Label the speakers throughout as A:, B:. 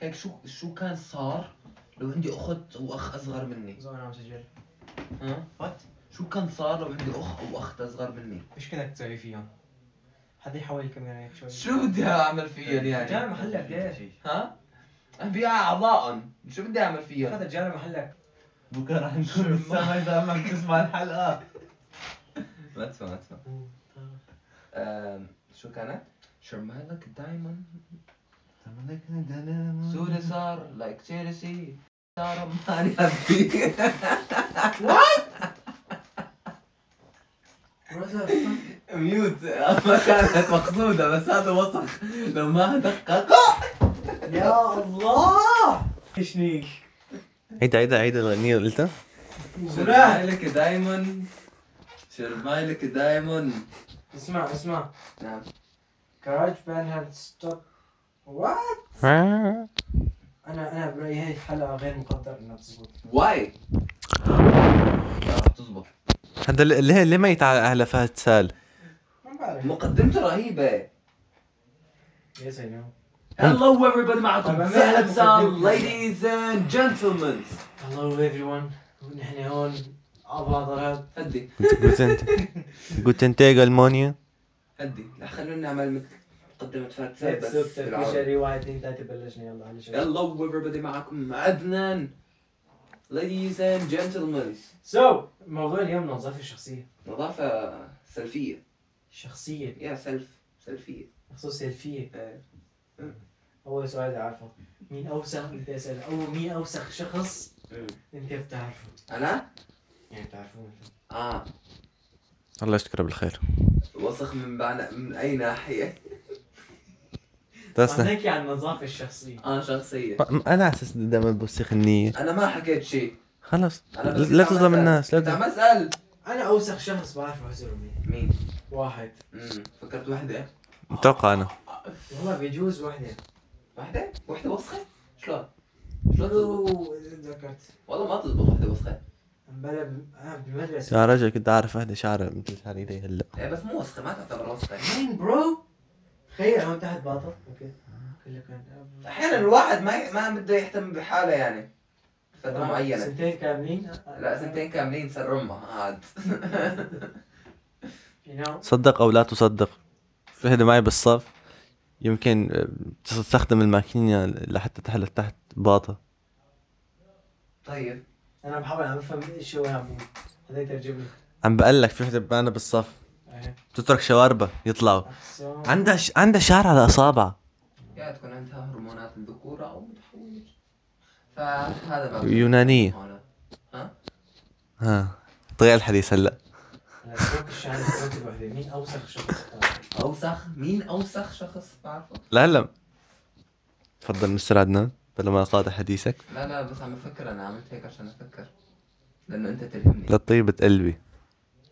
A: هيك شو شو كان صار لو عندي اخت واخ اصغر مني
B: زمان عم سجل
A: ها
B: وات
A: شو كان صار لو عندي اخ او اخت اصغر مني
B: ايش كنت تسوي فيهم؟ حد يحول الكاميرا هيك شوي
A: شو بدي اعمل فيهم يعني
B: رجال محلك ليش؟
A: ها ابيع اعضائهم شو بدي اعمل فيهم
B: هذا رجال محلك
C: بكره رح نكون السما اذا ما بتسمع الحلقه
A: ما تسمع ما تسمع أم، شو كانت شمالك دايما سوري صار لايك تشيلسي صار ماني هابي ميوت ما كانت مقصودة بس هذا وسخ لو ما دقق
B: يا الله ايش نيك
D: عيد عيد عيد الاغنيه اللي قلتها
A: شرمايلك دايما شرمايلك دايما
B: اسمع اسمع
A: نعم
B: كراج بان هاد ستوب وات انا انا برايي هاي الحلقه غير مقدر انها تزبط
A: واي آه، تزبط
D: هذا ل- ليه ليه ما يتعلق على فهد سال؟
B: ما بعرف
A: مقدمته رهيبة
B: يس اي نو
A: Hello everybody معكم
B: طب أنا
A: اهلا
B: أحب
A: وسهلا
B: مقدمته.
A: ladies and gentlemen
B: هلو ايفري ون نحن هون اباضرات
A: هدي
D: جوتن جوتن تيغ المانيا
A: هدي لا خلونا نعمل مثل مقدمة فاتسة إيه، بس بالعربي.
B: واحد اثنين ثلاثه بلشنا يلا على شوي
A: Hello everybody معكم عدنان ladies and gentlemen
B: سو موضوع اليوم نظافه الشخصيه
A: نظافة سلفية
B: شخصيه
A: يا سلف سلفية
B: مخصوص سلفيه
A: إيه.
B: اول سؤال اعرفه مين اوسخ بدي اسال او مين اوسخ شخص انت بتعرفه
A: أنا؟
B: يعني بتعرفوه انتو.
A: آه
D: الله يشكره بالخير
A: وسخ من بعنا من أي ناحية؟
D: بس
B: عم نحكي عن النظافه الشخصيه
A: أنا آه، شخصية
D: انا على اساس دائما بوسخ النية
A: أنا ما حكيت شيء
D: خلص
A: أنا بس
D: لا-
A: كنت
D: لا
A: عم
D: تظلم
A: أسأل.
D: الناس لا
A: كنت
D: تظلم
A: عم أسأل
B: انا اوسخ شخص بعرفه هزر مين
A: مين؟
B: واحد
A: مم. فكرت وحدة
D: متوقع انا
B: والله بيجوز يعني. وحده
A: وحدة؟ وحدة وسخة؟ شلون؟ شلون تزبط؟
B: شو ذكرت
A: والله ما تزبط وحدة وسخة
B: امبلا آه، بمدرسه
D: يا رجل كنت عارف هذا شعره مثل شعري لي هلا
A: إيه بس مو وسخة ما تعتبر وسخة
B: مين برو تخيل هون تحت باطل اوكي كله كان
A: أحيانا الواحد ما ما بده يهتم بحاله يعني فترة
B: آه،
A: معينة
B: سنتين كاملين
A: لا سنتين كاملين صار أمها عاد
B: You know.
D: صدق او لا تصدق في حدا معي بالصف يمكن آه، تستخدم الماكينة لحتى تحلق تحت باطة
A: طيب
B: انا بحاول عم بفهم ايش هو عم بقول هذا يترجم لي
D: عم بقول لك في حدا معنا بالصف
B: إيه.
D: بتترك شواربها يطلعوا
B: أحسن.
D: عندها ش... عندها شعر على اصابعها
A: يا تكون عندها هرمونات الذكورة أو متحولة فهذا ما
D: يونانية.
A: هون.
D: ها طيع الحديث هلا
B: أنا بتوقع الشعر بتوقع الوحدة. مين اوسخ شخص بتعرفه؟
A: أوسخ مين أوسخ شخص بعرفه؟
D: لا هلا تفضل مستر عدنان بلا ما اقاطع حديثك
A: لا لا بس عم بفكر أنا عملت هيك عشان أفكر لأنه أنت تلهمني
D: لطيبة قلبي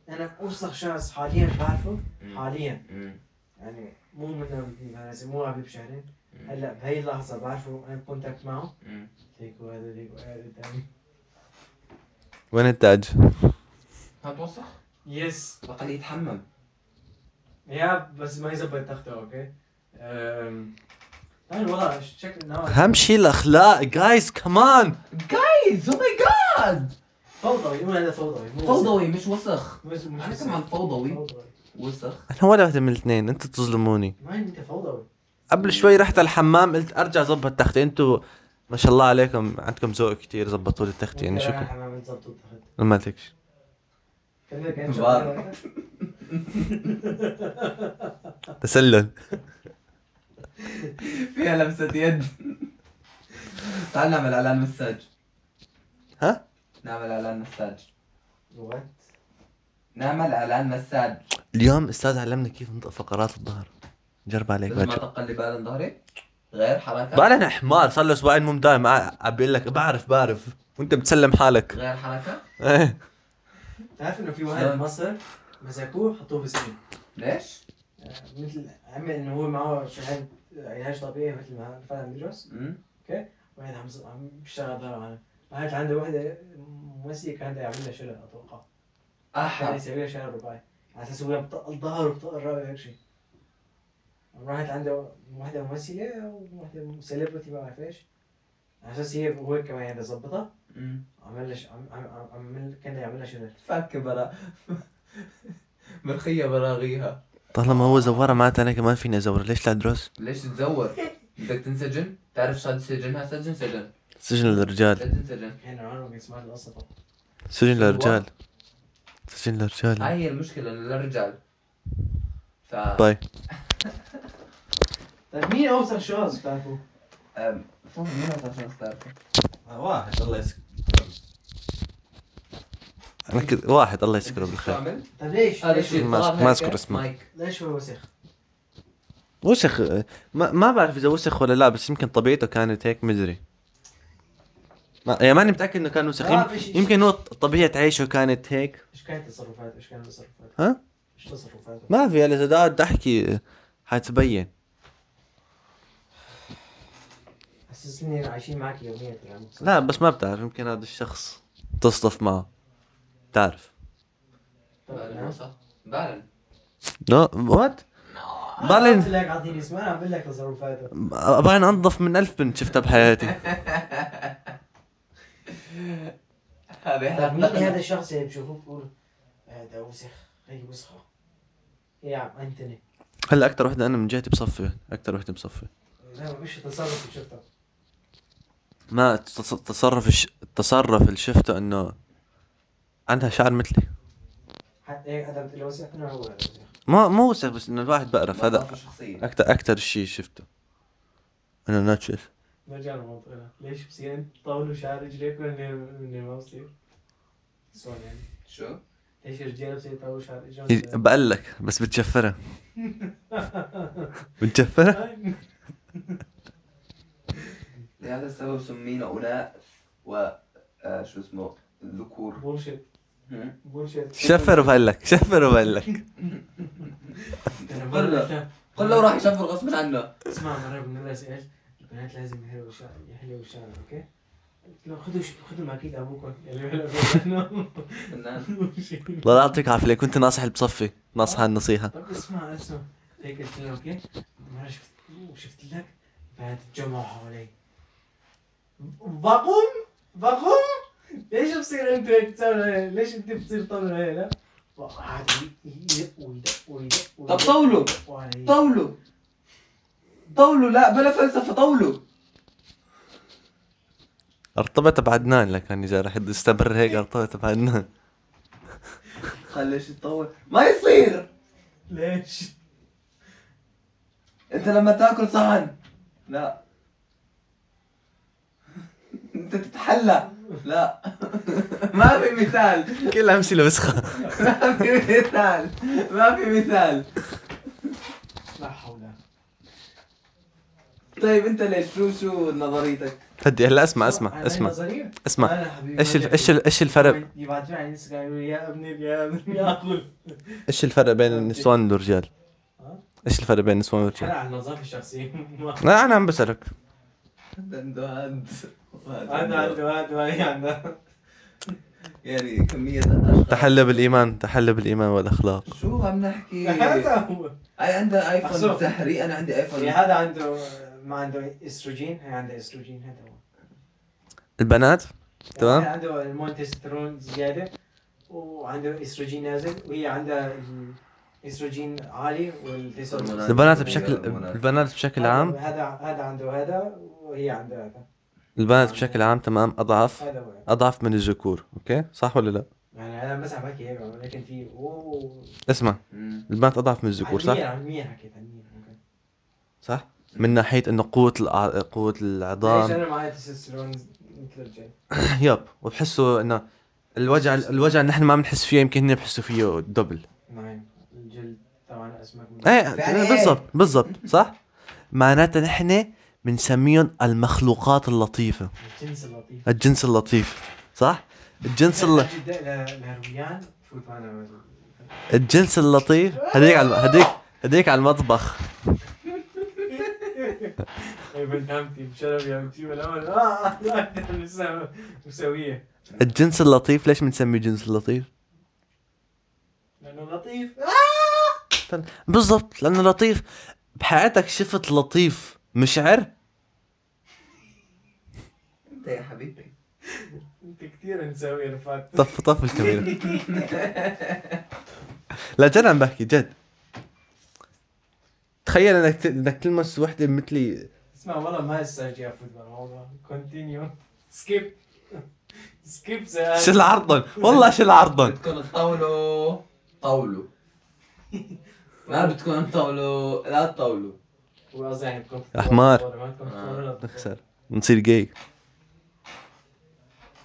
B: انا اوسخ شخص حاليا بعرفه
A: مم.
B: حاليا
A: مم.
B: يعني مو من من هذا مو قبل بشهرين
A: مم.
B: هلا بهي اللحظه بعرفه انا بكونتاكت معه
A: مم.
B: ليكو هذا ليكو هذا قدامي
D: وين التاج؟
A: ما توسخ؟
B: يس
A: بطل يتحمم
B: يا بس ما يزبط تخته اوكي أم. انا والله شكل انه
D: اهم شيء الاخلاق جايز كمان
A: جايز او ماي جاد
B: فوضوي مو هذا فوضوي مو
A: فوضوي مش وسخ
B: مو مش
A: أنا سمعت فوضوي. وسخ
D: انا ولا وحده من الاثنين انتوا تظلموني
B: ما انت فوضوي
D: قبل شوي رحت على الحمام قلت ارجع ظبط تختي انتوا ما شاء الله عليكم عندكم ذوق كتير زبطوا لي تختي يعني شكرا
B: حمام تزبط التخت
D: ما لكش
B: كان كان
A: بار.
B: شغل-
D: تسلل
A: فيها لمسة يد تعال نعمل اعلان مساج
D: ها؟
A: نعمل اعلان مساج
B: وات
A: نعمل اعلان مساج
D: اليوم استاذ علمنا كيف ننطق فقرات الظهر جرب عليك
A: بدل ما
D: باجي
A: تقلب على ظهري غير حركة
D: بقى انا حمار صار له اسبوعين مو مدايم عم بقول لك بعرف بعرف وانت بتسلم حالك
A: غير حركة
D: ايه
B: بتعرف انه في واحد
A: شلون؟
B: بمصر مسكوه حطوه بسجن
A: ليش؟
B: آه، مثل عمل انه هو معه شهاد علاج طبيعي مثل ما فعلا عم يدرس
A: مم.
B: واحد عم عم بيشتغل ظهره معنا قعدت عنده وحده ممثله كان بده يعمل لها شلة اتوقع كان
A: احا
B: يسوي لها شلة رباعي على اساس هو بطق الظهر وبطق الرقبه هيك شيء راحت عنده وحده ممثله وحده سيلبرتي ما بعرف ايش على اساس هي هو كمان يعني ظبطها
A: مم.
B: عمل لها ش- عم- عم- عمل كان يعمل لها شنو
A: فك برا مرخية براغيها
D: طالما هو زواره معناتها انا كمان فيني ازور ليش لا ادرس؟
A: ليش تتزور؟ بدك تنسجن؟ تعرف شو هاد سجنها سجن سجن
D: سجن للرجال
A: سجن سجن
B: كان عمره بيسمع القصة
D: سجن للرجال سجن للرجال
A: هاي هي المشكلة إنه للرجال ف
D: طيب
B: طيب مين اوسخ شخص بتعرفه؟
A: أم، فوق مين هذا الشخص تعرفه؟
D: آه، واحد الله يسكر انا كنت واحد الله يذكره بالخير
A: تعمل؟
B: طيب ليش؟
A: هذا
B: ليش
A: الشيء
D: ما-
A: طلاب
D: ما
A: هيك.
D: أذكر اسمه.
A: مايك
B: ليش هو وسخ؟
D: وسخ ما, ما بعرف اذا وسخ ولا لا بس يمكن طبيعته كانت هيك مدري ما يعني ماني متاكد انه كان وسخ
B: آه،
D: يم-
B: بش-
D: يمكن هو ط- طبيعه عيشه كانت هيك
B: ايش كانت تصرفاته؟ ايش كانت تصرفاته؟
D: ها؟
B: ايش تصرفاته؟
D: ما في يعني اذا قعدت احكي حتبين
B: حسسني عايشين معك يوميا ترى
D: لا بس ما بتعرف يمكن هذا الشخص تصطف معه تعرف
B: طب
A: بعلن
B: نعم.
A: وصح بعلن
D: لا وات
B: أنا قلت
D: بعدين
B: لك اعطيني اسم انا اقول لك تصرفاته
D: بعدين انظف من ألف بنت شفتها بحياتي
A: هذا
B: طيب مين هذا
A: يحرق
B: الشخص اللي بشوفه بقول هذا وسخ هي وسخة يا عم انتني
D: هلا اكثر وحده انا من جهتي بصفي اكثر وحده بصفي
B: لا مش التصرف اللي شفته
D: ما التص- التصرف الش... التصرف اللي شفته انه عندها شعر مثلي
B: حتى هيك ادم اللي وسخ انه هو هذا وسخ
D: ما مو وسخ بس انه الواحد بقرف هذا
A: شخصية
D: اكثر اكثر شيء شفته انه ناتشر
B: نرجع لموضوعنا ليش بصير انت تطولوا شعر رجليك ولا ما بصير؟ سؤال يعني
A: شو؟
B: ليش الرجال بصير يطولوا شعر رجليهم؟
D: بقول لك بس بتشفرها بتشفرها
B: طيب.
A: لهذا السبب سمينا أناث و آه، شو اسمه الذكور
B: بولشيت
A: هم؟
B: بولشيت
D: شفر وبقول لك شفر وبقول لك
B: أنا مرة-
A: قل له راح يشفر غصب عنه
B: اسمع مرة بالمدرسة ايش؟ البنات لازم يحلوا شعر يحلوا شعر اوكي؟ قلت له خذوا ش- خذوا معكيت ابوكم اللي بيحلوا شعرنا
A: فنان
D: الله يعطيك العافيه كنت ناصح اللي بصفي ناصح هالنصيحه
B: طب اسمع اسمع هيك قلت له اوكي مرة شفت شفت لك بنات تجمعوا حوالي بقوم بقوم ليش بصير انت هيك تسوي هيك؟ ليش انت بتصير طول هيك؟ وقعد يدق ويدق ويدق
A: طب طولوا طولوا طولوا لا بلا فلسفة طولوا
D: ارتبط بعدنان لكن اذا رح يستمر هيك ارتبط بعدنان
A: خليش يطول ما يصير
B: ليش؟
A: انت لما تاكل صحن لا انت تتحلى لا ما في مثال
D: كل امثله وسخه
A: ما في مثال ما في مثال
B: لا حول
A: طيب انت ليش شو شو نظريتك؟
D: هدي هلا اسمع اسمع
B: أنا
D: اسمع
B: نظرية؟
D: اسمع
B: أنا حبيبي
D: ايش ال- ايش ال- ايش الفرق
B: يبعتوا على الانستغرام يقولوا يا ابني يا ابني يا اخوي
D: ايش الفرق بين النسوان والرجال؟ ايش الفرق بين النسوان
B: انا
D: والرجال؟
B: على النظافة الشخصية ما-
D: لا انا عم بسالك
A: هذا عنده هاد وهذا
B: هذا عنده هذا وهي عندها
A: يعني كمية أشخاص
D: تحلى بالايمان تحلى بالايمان والاخلاق
A: شو عم نحكي؟
B: هذا هو
A: أي عنده ايفون
B: أحسن.
A: زهري أنا عندي
B: يعني
A: ايفون
B: هذا عنده ما عنده استروجين هي عندها استروجين هذا هو
D: البنات تمام.
B: يعني عنده المونتسترون زيادة وعنده استروجين نازل وهي عندها الاستروجين عالي والتستيرون
D: البنات بشكل البنات بشكل عام
B: هذا هذا عنده هذا وهي عندها هذا
D: البنات بشكل عام تمام اضعف
B: هذا هو
D: اضعف من الذكور اوكي صح ولا لا
B: يعني انا بس عم بحكي هيك لكن في اوه
D: اسمع
A: مم.
D: البنات اضعف من
B: Ah,
D: الذكور صح
B: علميا علميا حكيت علميا ممكن.
D: صح من ناحيه انه قوه الع... قوه
B: ليش
A: إيه،
D: العظام
B: انا معي تستوستيرون مثل الرجال
D: يب وبحسوا انه الوجع الوجع اللي نحن ما بنحس فيه يمكن هن بحسوا فيه دبل
B: نعم الجلد طبعا اسمك من-
A: يعني
D: ايه
A: إيه؟
D: بالضبط بالضبط صح معناتها نحن بنسميهم المخلوقات اللطيفة
B: الجنس اللطيف
D: الجنس اللطيف صح الجنس الل...
B: جدا ل- لهرويان فوت معنا
D: الجنس اللطيف هديك على هديك هديك على المطبخ
B: ابن عمتي بشرف يا عمتي والامل اه لسه مساويه
D: الجنس اللطيف ليش بنسميه جنس اللطيف
B: لانه لطيف Ah.
D: بالضبط لأنه لطيف بحياتك شفت لطيف مشعر
A: انت إيه يا حبيبي
B: انت كثير نسوي رفعت
D: طف طف الكاميرا لا جد عم بحكي جد تخيل انك ت- انك تلمس وحده مثلي
B: اسمع والله ما استرجع فوت بالموضوع كونتينيو سكيب سكيب
D: شل عرضن والله شل عرضن
C: بتكون الطاولة
A: طاولوا ما بتكون طاولوا لا تطاولوا
B: وقصدي يعني بكون
D: أحمر.
B: ما تكون
A: آه.
D: نخسر نصير جاي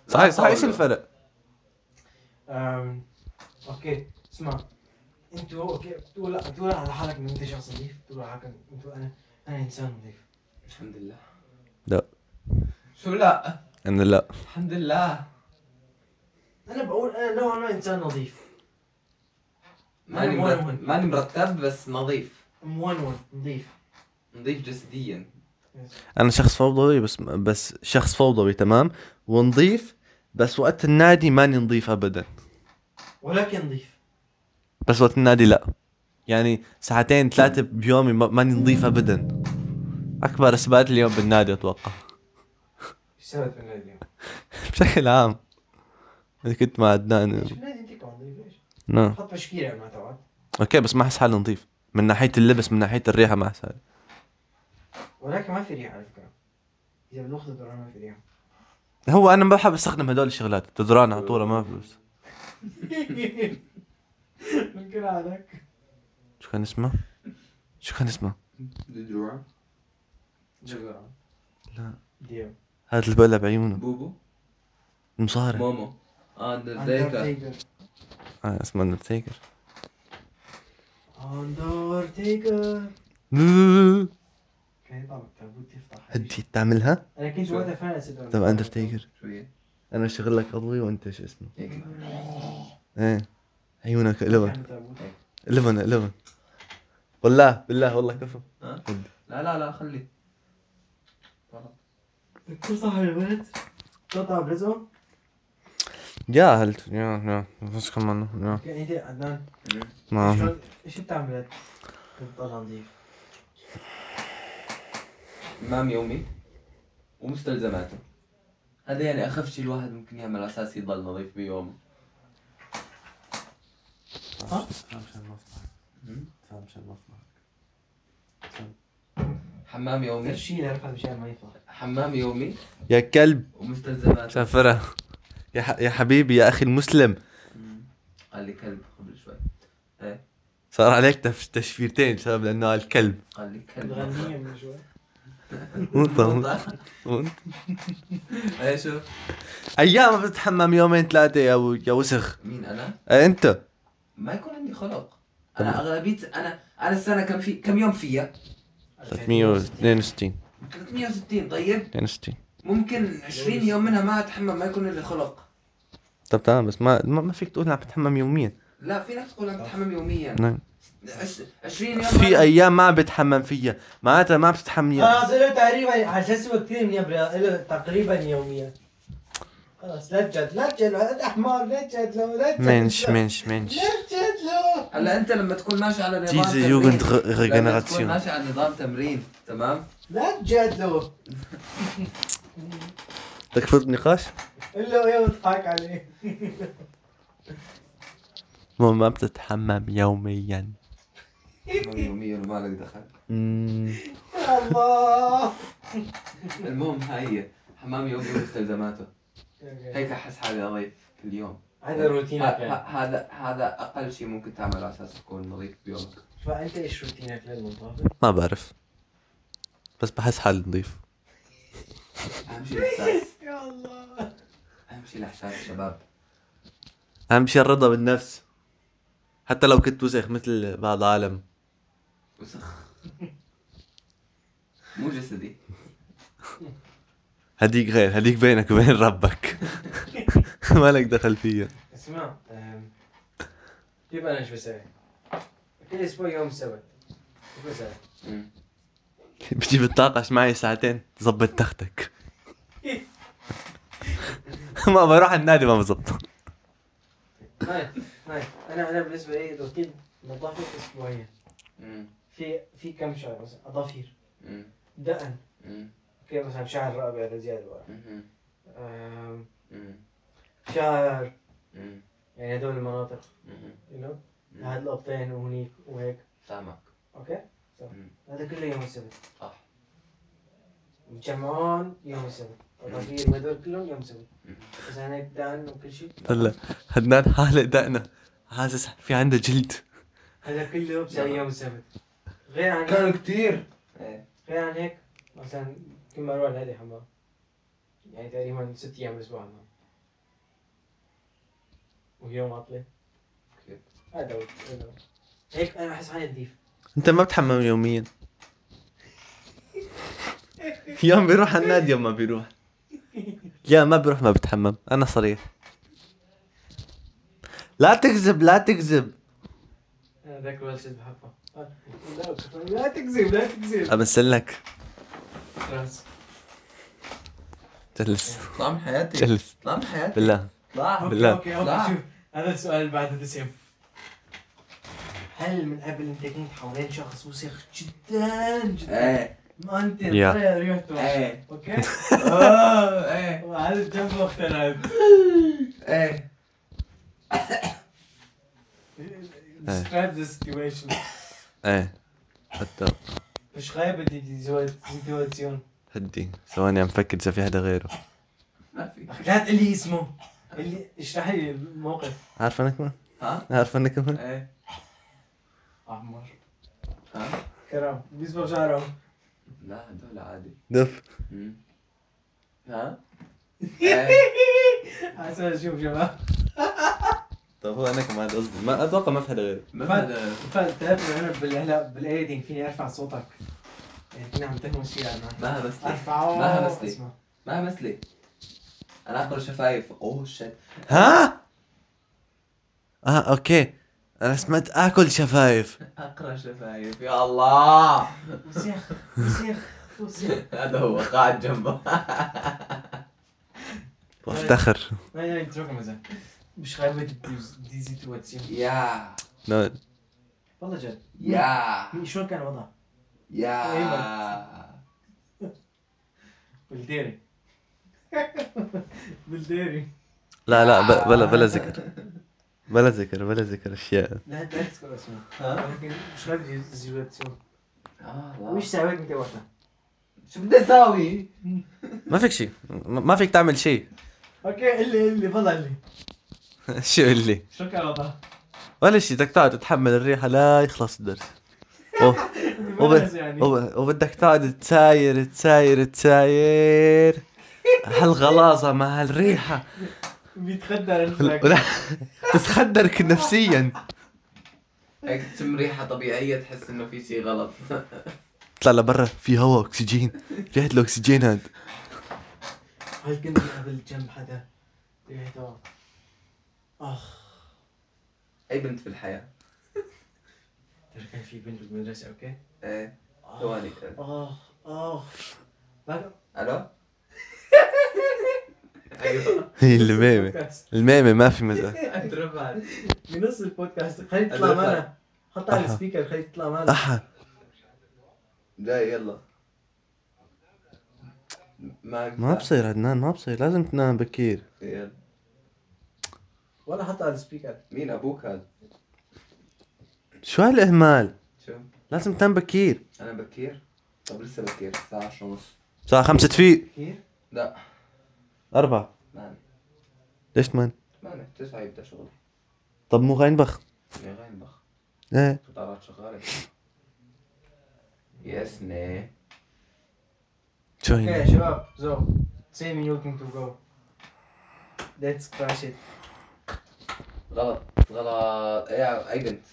D: صحيح صحيح ايش الفرق؟
B: أم، اوكي اسمع انتوا اوكي بتقول لا بتقول على حالك انه انت شخص نظيف بتقول على حالك إنه انت انا انا انسان نظيف
A: الحمد لله
D: لا
A: شو لا
D: انا لا
A: الحمد لله
B: انا بقول انا نوعا ما انسان نظيف
A: ماني
B: أنا مهم.
A: مرتب ماني مرتب بس نظيف
B: مونون نظيف
A: نظيف جسديا
D: انا شخص فوضوي بس بس شخص فوضوي تمام ونظيف بس وقت النادي ماني نظيف ابدا
B: ولكن نظيف
D: بس وقت النادي لا يعني ساعتين ثلاثة بيومي ما- ماني نظيف ابدا اكبر اثبات اليوم بالنادي اتوقع
B: اشتغلت من اليوم
D: بشكل عام اذا كنت مع عدنان
B: ليش بنادي انت كمان نظيف ليش؟
D: نعم
B: حط تشكيله ما تبعت
D: اوكي بس ما احس حالي نظيف من ناحية اللبس من ناحية الريحة ما احس حالي
B: ولكن ما في ريحه على فكره اذا بناخذ الدوران ما في ريحه
D: هو انا ما بحب استخدم هدول الشغلات تدران عطورة ما فلوس
B: ممكن عليك
D: شو كان اسمه؟ شو كان اسمه؟
A: دجوع
B: جبران
D: لا.
B: ديو
D: هذا اللي بقلب عيونه
A: بوبو
D: المصارع
A: مومو اه ذيك
D: آه اسمه اندرتيكر
B: اندرتيكر كان يطلع من التابوت يفتح
D: هدي تعملها
B: انا كنت وقتها فعلا نسيت
D: تبع اندرتيكر
A: شوية
D: انا اشغل لك عضوي وانت شو اسمه
A: هيك
D: ايه عيونك
B: كان
D: لبن
B: التابوت.
D: لبن لبن بالله بالله والله كفو
A: ها؟ لا لا لا خلي
B: كل صح الولد قطع برزو
D: يا هل يا يا بس كمان يا
B: كان انت يعني إيه؟ عدنان
D: ما
B: شلون- شو بتعمل كنت طالع نظيف
A: إمام يومي ومستلزماته هذا يعني أخف شيء الواحد ممكن يعمل على أساس يضل نظيف بيومه حمام يومي
B: ترشيل عرفت مشان ما يطلع
A: حمام يومي
D: يا كلب
A: ومستلزماته
D: شافرة يا ح... يا حبيبي يا اخي المسلم
A: مم. قال لي كلب قبل شوي
D: صار عليك تف... تشفيرتين بسبب لانه قال كلب
A: قال لي كلب
B: تغنيها من شوي
D: وانت- وانت- وانت-
A: ايه شوف
D: ايام بتتحمم يومين ثلاثه يا و- يا وسخ
A: مين انا؟
D: إيه، انت
A: ما يكون عندي خلق انا اغلبيه انا انا السنه كم في كم يوم فيها؟
D: 362
A: 360 طيب
D: 62
A: ممكن 20 يوم منها ما اتحمم ما يكون لي خلق
D: طب تمام بس ما ما ما فيك تقول عم بتحمم يوميا
A: لا في ناس
B: آه.
A: تقول عم تتحمم يوميا
D: نعم.
A: عش- 20 يوم
D: في ايام ما عم بتحمم فيها معناتها ما عم تتحمم
B: خلاص له تقريبا على اساس هو كثير من يبرا له تقريبا يوميا خلاص لا تجد لا تجد هذا حمار لا تجد له لا تجد
D: منش
B: له.
D: منش آه، منش
B: لا تجد له
A: هلا انت لما تكون ماشي على نظام
D: Diese
A: تمرين-
D: Jugend
A: لما تكون
D: Regeneration.
A: ماشي على نظام تمرين تمام
B: لا تجد له
D: بدك تفوت بنقاش؟
B: قل له ايه وضحك عليه
D: ما ما بتتحمم يوميا
A: تمام يوميا وما لك دخل
B: يا الله
A: المهم هاي هي حمام يومي ومستلزماته هيك احس حالي نظيف في اليوم
B: هذا روتينك
A: ه-
B: يعني.
A: ه- هذا هذا اقل شيء ممكن تعمله على اساس تكون نظيف بيومك
B: فانت ايش روتينك للمنطقه؟
D: ما بعرف بس بحس حالي نظيف
A: اهم شيء الاحساس
B: يا الله
A: اهم شيء الاحساس شباب
D: اهم شيء الرضا بالنفس حتى لو كنت وسخ مثل بعض العالم
A: وسخ مو جسدي
D: هديك غير هديك بينك وبين ربك مالك دخل فيا
B: اسمع أم، كيف انا شو بسوي؟ كل اسبوع يوم السبت شو بسوي؟
A: مم.
D: بتجي بتناقش معي ساعتين ظبط تختك ما بروح على النادي ما بظبطه
B: هاي هاي انا انا بالنسبه لي روتين نظافه اسبوعيه
A: مم.
B: في في كم شعر مثلا اظافير
A: مم.
B: دقن
A: مم.
B: اوكي مثلا شعر رابع زياده ورا
A: مم.
B: آم،
A: مم.
B: شعر
A: مم.
B: يعني هدول المناطق
A: مم.
B: you know
A: مم.
B: هاد القبطين وهنيك وهيك
A: فاهمك
B: اوكي so
A: مم.
B: هذا كله يوم السبت
A: صح
B: متجمعون يوم السبت الغفير هدول كلهم يوم السبت بس انا هيك دان وكل شيء
D: هلا هدنان حالق دقنا حاسس في عنده جلد
B: هذا كله بسوي يوم السبت غير عن
C: كانوا كتير
A: ايه
B: غير عن هيك مثلا كل ما اروح لهذه حمام يعني تقريبا ست ايام بالاسبوع حمام ويوم عطله
A: كيف؟
B: هذا هو هذا هو. هيك انا احس حالي نظيف
D: انت ما بتحمم يوميا يوم بيروح على النادي يوم ما بيروح يا ما بروح ما بتحمم انا صريح لا تكذب لا تكذب
B: انا ذاك الولد شد بحبه آه، لا تكذب لا تكذب
D: امثلك
B: خلاص
D: جلس
A: اطلع من حياتي
D: جلس
A: اطلع من حياتي
D: بالله
A: اطلع
B: اوكي
D: بالله.
B: اوكي اوكي
A: لا.
B: شوف هذا السؤال بعد دسم هل من قبل انت كنت حوالين شخص وسخ جدا جدا
A: ايه
B: ما انت
D: يا.
B: طلع ريحته
A: ايه
B: اوكي
A: آه، ايه
B: وهذا جنبه اختلف
D: إيه.
A: ايه
B: describe the situation
D: ايه حتى
B: مش غايب دي دي سيتواسيون
D: هدي ثواني عم فكر اذا في حدا غيره
A: ما في
B: لا تقول لي اسمه اللي اشرح لي الموقف
D: عارف انا كمان؟
A: ها
D: عارف انا كمان؟
A: ايه
B: عمار
A: ها
B: كرم بيصبغ شعره
A: لا هدول عادي
D: دف
A: مم. ها
B: إيه.
A: ايه
B: عسى اشوف شباب
D: طب هو انا كمان قصدي ما اتوقع ما في حدا غيره
A: ما بدأ
B: فتعرف انا بالهلا بالايدين فيني ارفع صوتك يعني كنا عم تهمس فيها انا
A: ما همستلي
B: ارفعه
A: ما همستي.
B: اسمع.
A: ما همستلي انا اقول شفايف اوه شت
D: ها؟ اه اوكي انا سمعت اكل شفايف
A: اقرا شفايف يا الله
B: وسيخ وسيخ وسيخ
A: هذا هو قاعد جنبه
D: وافتخر
B: لا لا اتركه مزح مش غايبة دي- دي سيتواسيون
A: يا
D: لا،
B: والله جد
A: يا
B: مين- شلون كان وضعه؟
A: يا
B: بالديري بالديري
D: لا لا بلا- بلا بلا ذكر بلا ذكر بلا ذكر اشياء
B: لا لا تذكر اسمه
A: ها
B: ولكن مش غايبة دي سيتواسيون
A: آه،
B: وش ساويت انت وقتها؟
A: شو بدي اساوي؟
D: ما فيك شيء ما ما فيك تعمل شيء
B: اوكي اللي اللي والله اللي
D: شو اللي
B: شلون كان وضعه؟
D: ولا شيء بدك تقعد تتحمل الريحه لا يخلص الدرس أوه، وب-
B: يعني
D: وب- وبدك تقعد تساير تساير تساير هالغلاظه مع هالريحه
B: بيتخدر
D: ولا-
B: رجلك
D: ولا- تتخدرك نفسيا
A: هيك تشم ريحه طبيعيه تحس انه في شيء غلط
D: اطلع لبرا في هواء اكسجين ريحه الاكسجين هاد
B: هل كنت قبل جنب حدا؟ إيه، ريحته اخ
A: اي بنت في الحياه
B: ترى كان في بنت بالمدرسه اوكي؟
A: ايه
B: آخ،
A: ثواني
B: اخ اخ بعد-
A: الو ايوه
D: هي
B: نص
D: الميمه
B: البودكاست.
D: الميمه ما في مزح
B: إيه،
A: اندروباد
B: بنص البودكاست خلي تطلع
A: أدري
B: معنا حطها على
D: أحا.
B: السبيكر خلي تطلع معنا
D: احا
A: جاي يلا ما
D: ما بصير عدنان ما بصير لازم تنام بكير
A: يلا.
B: ولا حطها على السبيكر
A: مين ابوك هذا؟
D: شو هالاهمال
A: شو؟
D: لازم تنام بكير
A: انا بكير؟ طب لسه بكير الساعه 10 ونص
D: الساعه 5 تفيق
B: كثير
A: لا
D: أربعة
A: ما
D: ليش تمان
A: ما تسعة يبدا شغلي
D: طب مو غينبخ
A: يا غايم بخ
D: ايه
A: قطارات شغاله يسني
D: شو
B: اوكي يا
D: هي
B: إيه، شباب so say me looking to go let's crash it
A: غلط غلط إيه يا اي بنت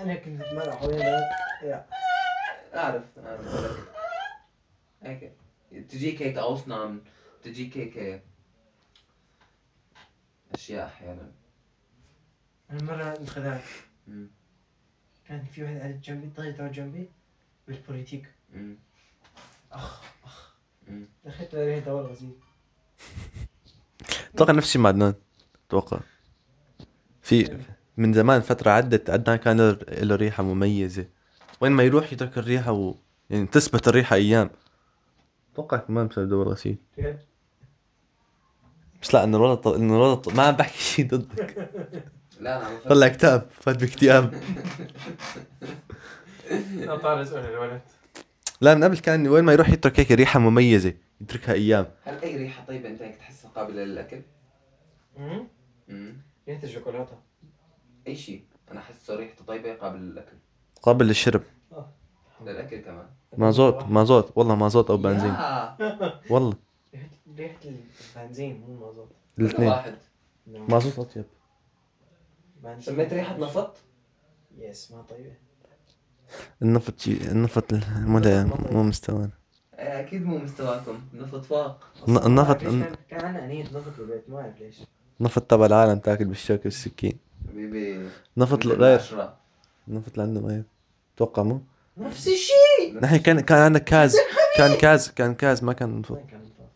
B: انا كنت اتمرن حوالين هذا. يا.
A: اعرف اعرف هيك تجيك هيك اوصنام تجيك هيك اشياء احيانا
B: انا مره انخدعت
A: مم.
B: كان في واحد قاعد جنبي طلع تقعد جنبي بالبوليتيك
A: مم.
B: اخ اخ
A: مم.
B: دخلت عليه دور غزير
D: اتوقع نفس الشيء مع عدنان اتوقع في من زمان فترة عدت عدنان كان له- له ريحة مميزة وين ما يروح يترك الريحة و... يعني تثبت الريحة أيام اتوقع كمان بسبب دور غسيل
B: كيف؟
D: بس لا انه الولد ط... انه الولد ط... ما عم بحكي شيء ضدك
A: لا انا عم بفكر.
D: طلع كتاب فات باكتئاب
B: لا طار اسال الولد
D: لا من قبل كان وين ما يروح يترك هيك ريحه مميزه يتركها ايام
A: هل اي ريحه طيبه انت هيك تحسها قابله للاكل؟
B: أمم.
A: امم
B: ريحه الشوكولاته
A: اي شيء انا احسه ريحته طيبه قابل للاكل
D: قابل للشرب
A: للاكل كمان
D: مازوت مازوت والله مازوت او بنزين
A: لا،
D: والله
B: ريحه ريحه البنزين مو المازوت
A: كل
D: الاثنين
A: واحد
B: لا.
D: مازوت اطيب
B: بنزين.
A: سميت ريحه نفط؟
B: يس ما طيبه
D: النفط شيء النفط مو لا- مو مستوى
A: آه، اكيد مو مستواكم نفط فاق
D: الن- النفط
B: ليش كان- كان عندنا انية نفط بالبيت ما اعرف ليش
D: النفط تبع العالم تاكل بالشوكه والسكين
A: حبيبي
D: نفط
A: مثل
D: غير
A: العشرة.
D: النفط اللي عندهم غير اتوقع مو
B: نفس الشيء
D: نحن كان كان عندنا كاز كان كاز كان كاز ما كان نفط
B: وين كان نفط؟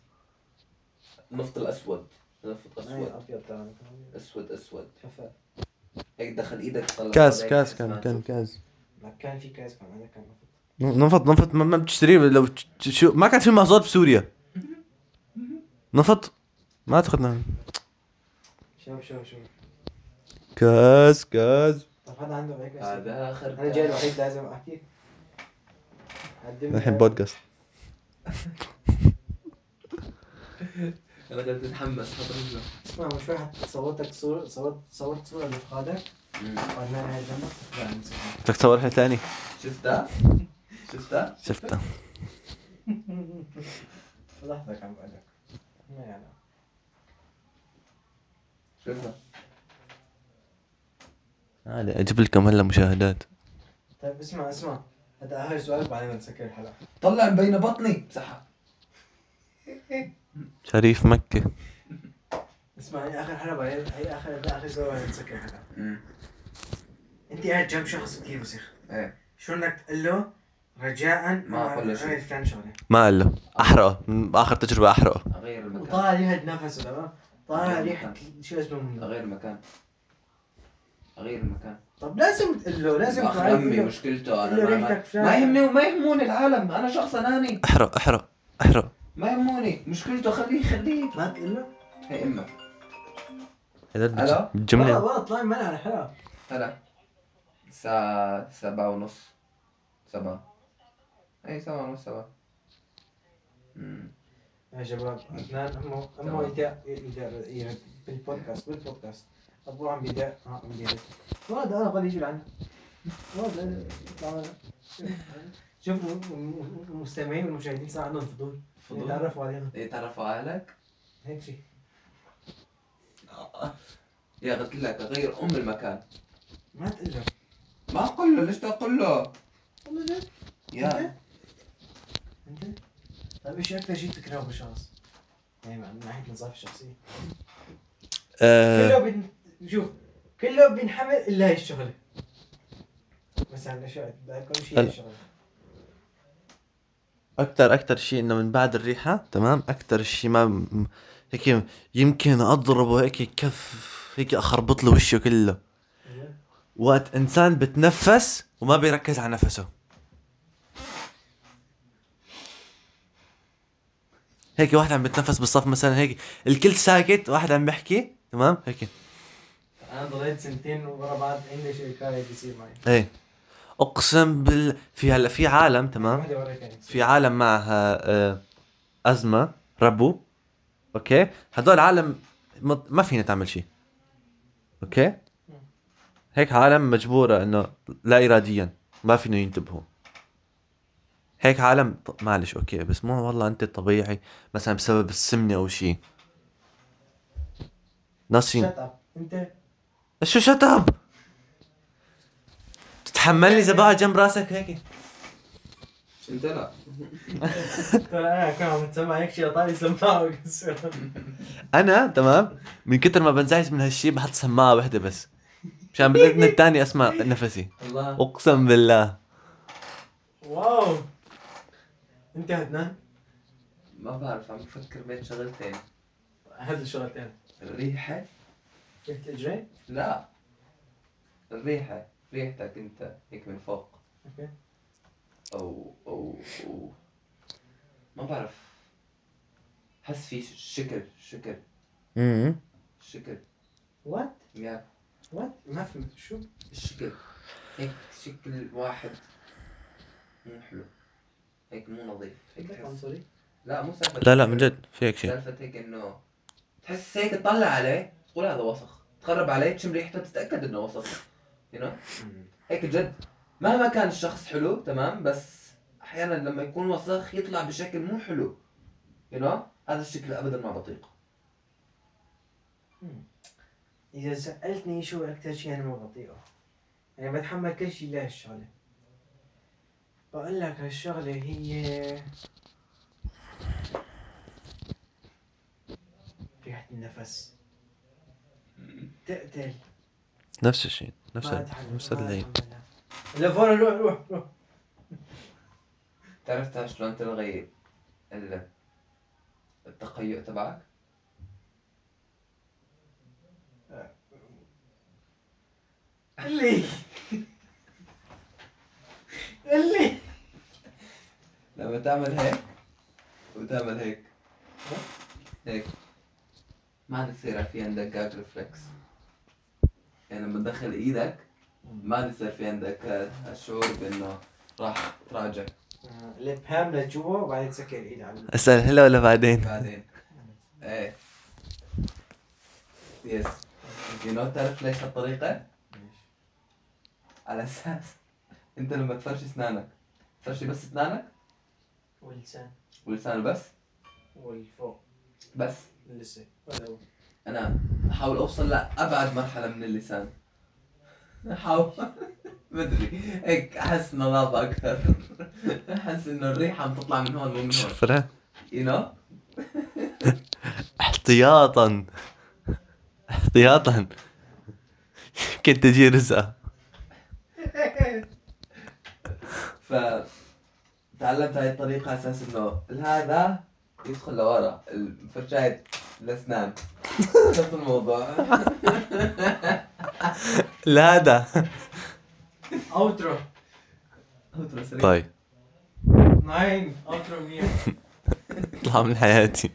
A: النفط الاسود نفط اسود
B: ابيض ترى
A: اسود اسود
B: خفاف
A: هيك دخل ايدك طلع
D: كاز
A: طلع
D: كاز
A: هيك
D: كان
A: اسمه.
D: كان كاز
B: ما كان في كاس كان هذا كان نفط
D: نفط نفط ما, ما بتشتريه لو تش- شو ما كان في مازوت بسوريا نفط ما تاخذنا
B: شوف شوف شوف
D: كاز كاز
B: طب حدا عنده هيك أسئلة؟
A: هذا اخر
B: انا جاي الوحيد لازم احكي قدم
D: الحين بودكاست
A: انا كنت متحمس حضرنا
B: اسمع مش واحد صورتك صورة صورت صورت صورة لفخادك وقلنا لها جنبك لا نسيت
D: بدك تصور رحله ثانيه
A: شفتها؟ شفتها؟
D: شفتها
B: فضحتك عم بقول لك ما يعني
A: شفتها؟
D: هذا اجيب آه، لكم هلا مشاهدات
B: طيب اسمع اسمع هذا اخر سؤال بعدين نسكر الحلقة
A: طلع مبينة بطني امسحها
D: شريف مكه
B: اسمع هي اخر حلقة بعدين هي اخر هذا اخر سؤال بعدين نسكر الحلقة انت قاعد جنب شخص كثير وسخ
A: ايه
B: شو انك تقول له رجاء
A: ما أقول له شيء.
B: عمل فلان شغلة
D: ما قال له احرقه من اخر تجربه احرقه
A: اغير المكان
B: وطالع ريحة نفسه تمام طالع ريحة شو اسمه منه
A: اغير المكان اغير المكان
B: طب لازم تقول له لازم
A: اخ
B: تعرف
A: امي
B: له.
A: مشكلته انا
B: اللي
A: ما-
B: ريحتك
A: ما,
B: فيها.
A: ما يهمني وما يهموني العالم انا شخص اناني
D: احرق احرق احرق
A: ما يهموني مشكلته خليه خليه
B: ما تقول له
A: هي امك
D: هذا
A: ألو؟
B: والله
D: الجمله
B: والله طلع من على الحلقة
A: هلا الساعة سبعة ونص سبعة أي سبعة ونص سبعة أمم.
B: يا شباب عدنان امه امه يداء يداء يرد يعني بالبودكاست بالبودكاست ابوه عم بيداء ها عم بيداء ولد انا غادي يجي لعنا ولد أنا- يطلع لنا. شوفوا الم- المستمعين والمشاهدين صار عندهم فضول
A: فضول إيه،
B: يتعرفوا علينا
A: يتعرفوا عليك
B: هيك شيء
A: يا قلت لك غير أم المكان
B: ما تقول له
A: ما أقول له ليش تقول له
B: والله لا.
A: يا
B: إيه. انت طيب ايش اكثر شيء تكرهه بالشخص؟ يعني من ناحيه النظافه الشخصيه
D: آه،
B: كله بن... شوف كله بينحمل الا هي الشغله مثلا اشياء كل شيء هي
D: هلا.
B: الشغله
D: اكثر اكثر شيء انه من بعد الريحه تمام اكثر شيء ما م- هيك يمكن اضربه هيك كف هيك اخربط له وشه كله
B: أيوة.
D: وقت انسان بتنفس وما بيركز على نفسه هيك واحد عم بتنفس بالصف مثلا هيك الكل ساكت واحد عم بيحكي تمام هيك
B: انا ضليت سنتين ورا بعض عندي شيء كان هيك يصير معي
D: ايه اقسم بال في هلا في عالم تمام
B: واحدة ورا كانت
D: نعم. في عالم معها آه، أزمة ربو أوكي هدول عالم مط- ما فينا تعمل شيء أوكي هيك عالم مجبورة إنه لا إراديا ما فينا ينتبهوا هيك عالم ط- معلش أوكي بس مو والله أنت طبيعي مثلا بسبب السمنة أو شيء ناسين
B: شت اب انت
D: شو شتاب تتحملني زباعة جنب راسك هيك
A: أنت لا
B: ترى انا كان عم تسمع هيك شيء طالع سماعه ويكسر
D: انا تمام من كتر ما بنزعج من هالشي بحط سماعه وحده بس مشان بالاذن الثاني اسمع نفسي
A: الله
D: اقسم بالله
B: واو انت عدنان
A: ما بعرف عم بفكر بين شغلتين
B: هذا الشغلتين
A: الريحة
B: ريحة الجرين
A: لا الريحة ريحتك أنت هيك من فوق
B: اوكي
A: أو أو أو ما بعرف حس في شكر شكر
D: امم
A: شكر
B: وات
A: يا
B: وات ما فهمت شو
A: الشكر هيك شكل واحد مو حلو هيك مو نظيف هيك
B: بدك
A: تحس
B: عنصري
A: لا مو سالفة
D: لا لا من جد في هيك شيء
A: سالفة هيك انه تحس هيك تطلع عليه تقول هذا وسخ تقرب عليه تشم ريحته تتأكد انه وسخ you know? هيك جد مهما كان الشخص حلو تمام بس احيانا لما يكون وسخ يطلع بشكل مو حلو you know? هذا الشكل ابدا ما بطيقه
B: اذا سالتني شو اكثر شيء انا ما بطيقه يعني بتحمل كل شيء لهالشغله بقول لك هالشغله هي ريحة النفس تقتل
D: نفس الشيء نفس
B: ما
D: ال-
B: أتحمل،
D: نفس
B: ما
D: اللي
B: أتحملها. لا فورا روح روح روح
A: تعرف شلون تلغي ال- التقيؤ تبعك؟
B: اللي اللي
A: لما تعمل هيك وتعمل هيك هيك ما عاد يصير في عندك جاج ريفلكس يعني لما تدخل ايدك ما عاد يصير في عندك الشعور بانه راح تراجع
B: الابهام آه، لجوا وبعدين تسكر الايد على
D: اسال هلا ولا بعدين
A: بعدين ايه يس يو نو تعرف ليش هالطريقة؟ على اساس انت لما تفرش اسنانك تفرشي بس اسنانك
B: واللسان
A: ولسانه بس
B: والفوق
A: بس
B: لسه ولا
A: انا احاول اوصل لابعد مرحله من اللسان احاول مدري هيك احس نظافه اكثر احس انه الريحه عم تطلع من هون مو من هون
D: شفرة
A: يو نو
D: احتياطا احتياطا يمكن تجي رزقة
A: ف تعلمت هاي الطريقه على اساس انه هذا يدخل لورا الفرشاة الاسنان نفس الموضوع
D: لا هذا
B: اوترو
D: طيب
B: ناين اوترو مية
D: اطلع من حياتي